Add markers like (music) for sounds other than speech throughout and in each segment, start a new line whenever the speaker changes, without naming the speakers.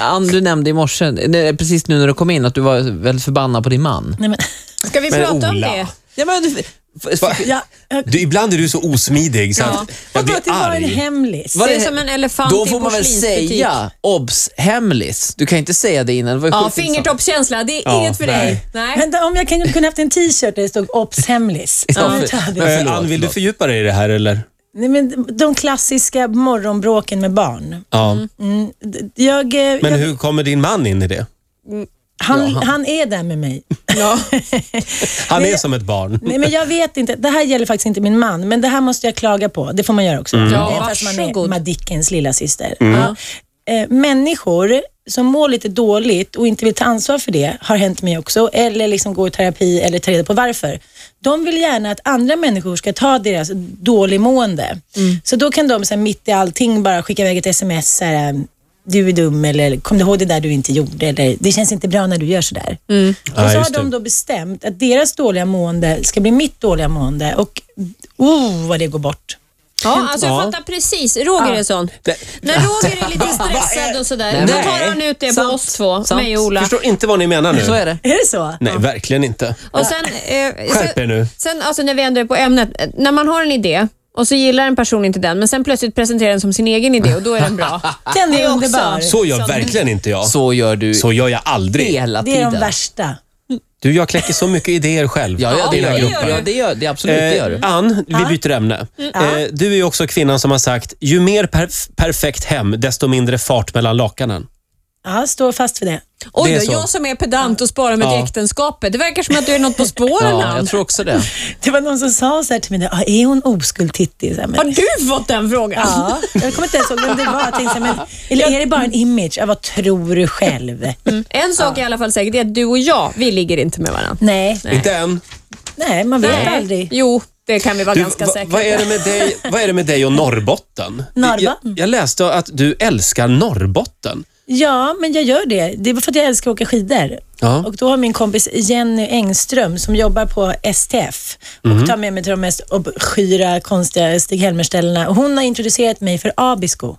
Ann, du nämnde i morse, nej, precis nu när du kom in, att du var väldigt förbannad på din man.
Nej, men,
Ska vi
Men
prata om
Ola.
det?
Ja, men, f- f-
Va?
(laughs) ja, jag,
Du, ibland är du så osmidig så att jag
vadå
blir
att det var en
arg.
hemlis?
Vad
Det är som en elefant
Då
i
får man väl
porslinsbutik.
säga obs, hemlis. Du kan inte säga det innan. Det var ju
Ja,
sjukt liksom. intressant.
fingertoppskänsla. Det är
Ja,
inget för
nej.
dig. Nej.
Vänta, om jag kunde, kunde haft en t-shirt där det stod obs hemlis.
Ja,
Men
för-
ta det.
men
Eh,
Förlåt,
Ann, vill du
förlåt.
fördjupa dig i det här eller?
Nej, men de klassiska morgonbråken med barn.
Ja.
Mm.
D- Jag, eh,
Men
jag,
hur kommer din man in i det?
han, han är där med mig.
Han
Nej,
är som ett barn.
Nej, men jag vet inte. Det här gäller faktiskt inte min man, men det här måste jag klaga på. Det får man göra också.
Ja,
Eh, Fast man är
varsågod.
Madickens lilla syster.
Mm.
Ja. Eh, Människor som mår lite dåligt och inte vill ta ansvar för det, har hänt mig också, eller liksom går i terapi eller tar reda på varför. De vill gärna att andra människor ska ta deras dåligmående.
Mm.
Så då kan de så här, mitt i allting bara skicka iväg ett sms. Så här, du är dum eller kom du ihåg det där du inte gjorde eller det känns inte bra när du gör sådär. Och så
Mm. Ja,
har
just
de
det.
då bestämt att deras dåliga mående ska bli mitt dåliga mående och oh vad det går bort.
Ja, alltså jag
Ja.
fattar precis. Roger är sån.
Det-
När Roger är lite stressad och sådär, då tar han ut det på
Sant.
oss två,
Sant.
mig och Ola.
Förstår inte vad ni menar nu.
Mm. Så är det.
Är det så?
Nej, verkligen inte.
Och sen, eh,
Skärp er nu.
Sen alltså, när vi ändå är på ämnet, eh, när man har en idé och så gillar en person inte den, men sen plötsligt presenterar den som sin egen idé och då är den bra.
Den
Det
är
också.
underbar.
Så gör verkligen inte jag.
Så gör du
Så gör jag aldrig.
hela
Det är
tiden.
de värsta.
Du, jag kläcker så mycket idéer själv.
Ja, ja, det,
Dina
gör du.
grupper.
Ja, det gör det Absolut, det gör Mm. du.
Eh, Ann, vi byter ämne.
Mm.
Eh, du är ju också kvinnan som har sagt, ju mer perf- perfekt hem, desto mindre fart mellan lakanen.
Ja, står fast för det.
Oj
Det är
då,
så.
jag som är pedant och sparar mig till
Ja.
äktenskapet. Det verkar som att du är något på spåren.
Ja,
Ann.
jag tror också det.
Det var någon som sa så här till mig, ah, är hon oskuld Titti? Så här, men-
Har du fått den frågan?
Ja, jag kommer inte ens ihåg vem det var. Jag Mm. tänkte, så här, men, eller är det bara en image? Ja, vad tror du själv?
En sak är i alla fall säker, det är att du och jag, vi ligger inte med varandra.
Nej,
Inte än.
nej, man vet aldrig.
Jo, det kan vi vara
Du,
ganska
va-
säkra
vad, är
på.
det med dig, vad är det med dig
(laughs)
och Norrbotten?
Norrbotten.
Jag, jag läste att du älskar Norrbotten.
Ja, men jag gör det. Det var för att jag älskar att åka skidor.
Ja.
Och då har min kompis Jenny Engström som jobbar på STF och tar med mig till de mest obskyra, konstiga Stig Helmer-ställena. Och Hon har introducerat mig för Abisko,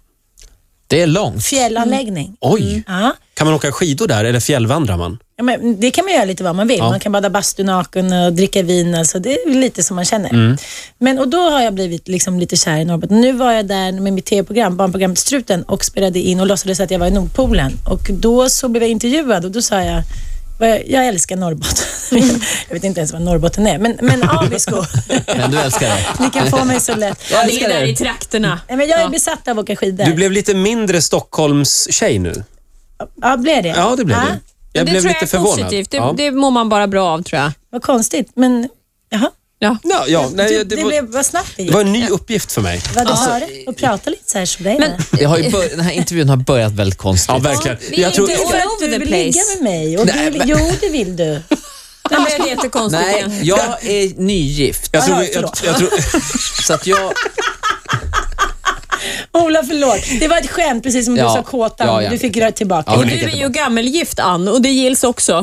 Det är långt.
fjällanläggning.
Mm.
Oj,
Ja.
kan man åka skidor där eller fjällvandrar man?
Ja, men det kan man göra lite vad man vill. Man kan bada bastu naken och dricka vin. Alltså, det är lite som man känner.
Mm.
Men, och då har jag blivit liksom lite kär i Norrbotten. Nu var jag där med mitt tv-program, barnprogrammet Struten och spelade in och låtsades att jag var i Nordpolen. Och då så blev jag intervjuad och då sa jag vad jag, jag älskar Norrbotten. (laughs)
Mm.
jag vet inte ens vad Norrbotten är, men, men
(laughs)
Abisko.
Men du älskar det.
Ni kan få mig så lätt.
Jag
Det är
älskar
där i
det.
trakterna.
Nej, men jag är besatt av att åka skidor.
Du blev lite mindre Stockholms-tjej nu.
Ja, blev det?
Ja, det blev du. Jag
det
blev
tror
lite
jag är
förvånad.
positivt. Det,
ja.
det mår man bara bra av tror jag.
Vad konstigt, men jaha.
Ja.
Ja, ja, nej,
det,
det, var,
blev, vad snabbt det
det
gick.
var en ny uppgift för mig.
Vad du hörde Alltså, eh, och prata lite så här som dig.
Men-
det har ju bör- den här intervjun har börjat väldigt konstigt.
Ja, verkligen.
vi är
Jag tror,
inte
För att
over
du
the
vill
place.
ligga med mig. Och
Nej,
du,
men-
Jo, det vill du.
(laughs)
Det är jättekonstigt.
Nej,
igen.
jag är nygift.
jag tror,
Jaha,
jag, jag,
förlåt.
tror,
Så att jag,
Ola, förlåt. Det var ett skämt, precis som
Ja.
du sa kåtan.
Ja, ja.
Du fick röra tillbaka.
Ja,
Och du är ju gammelgift Ann och det gills också.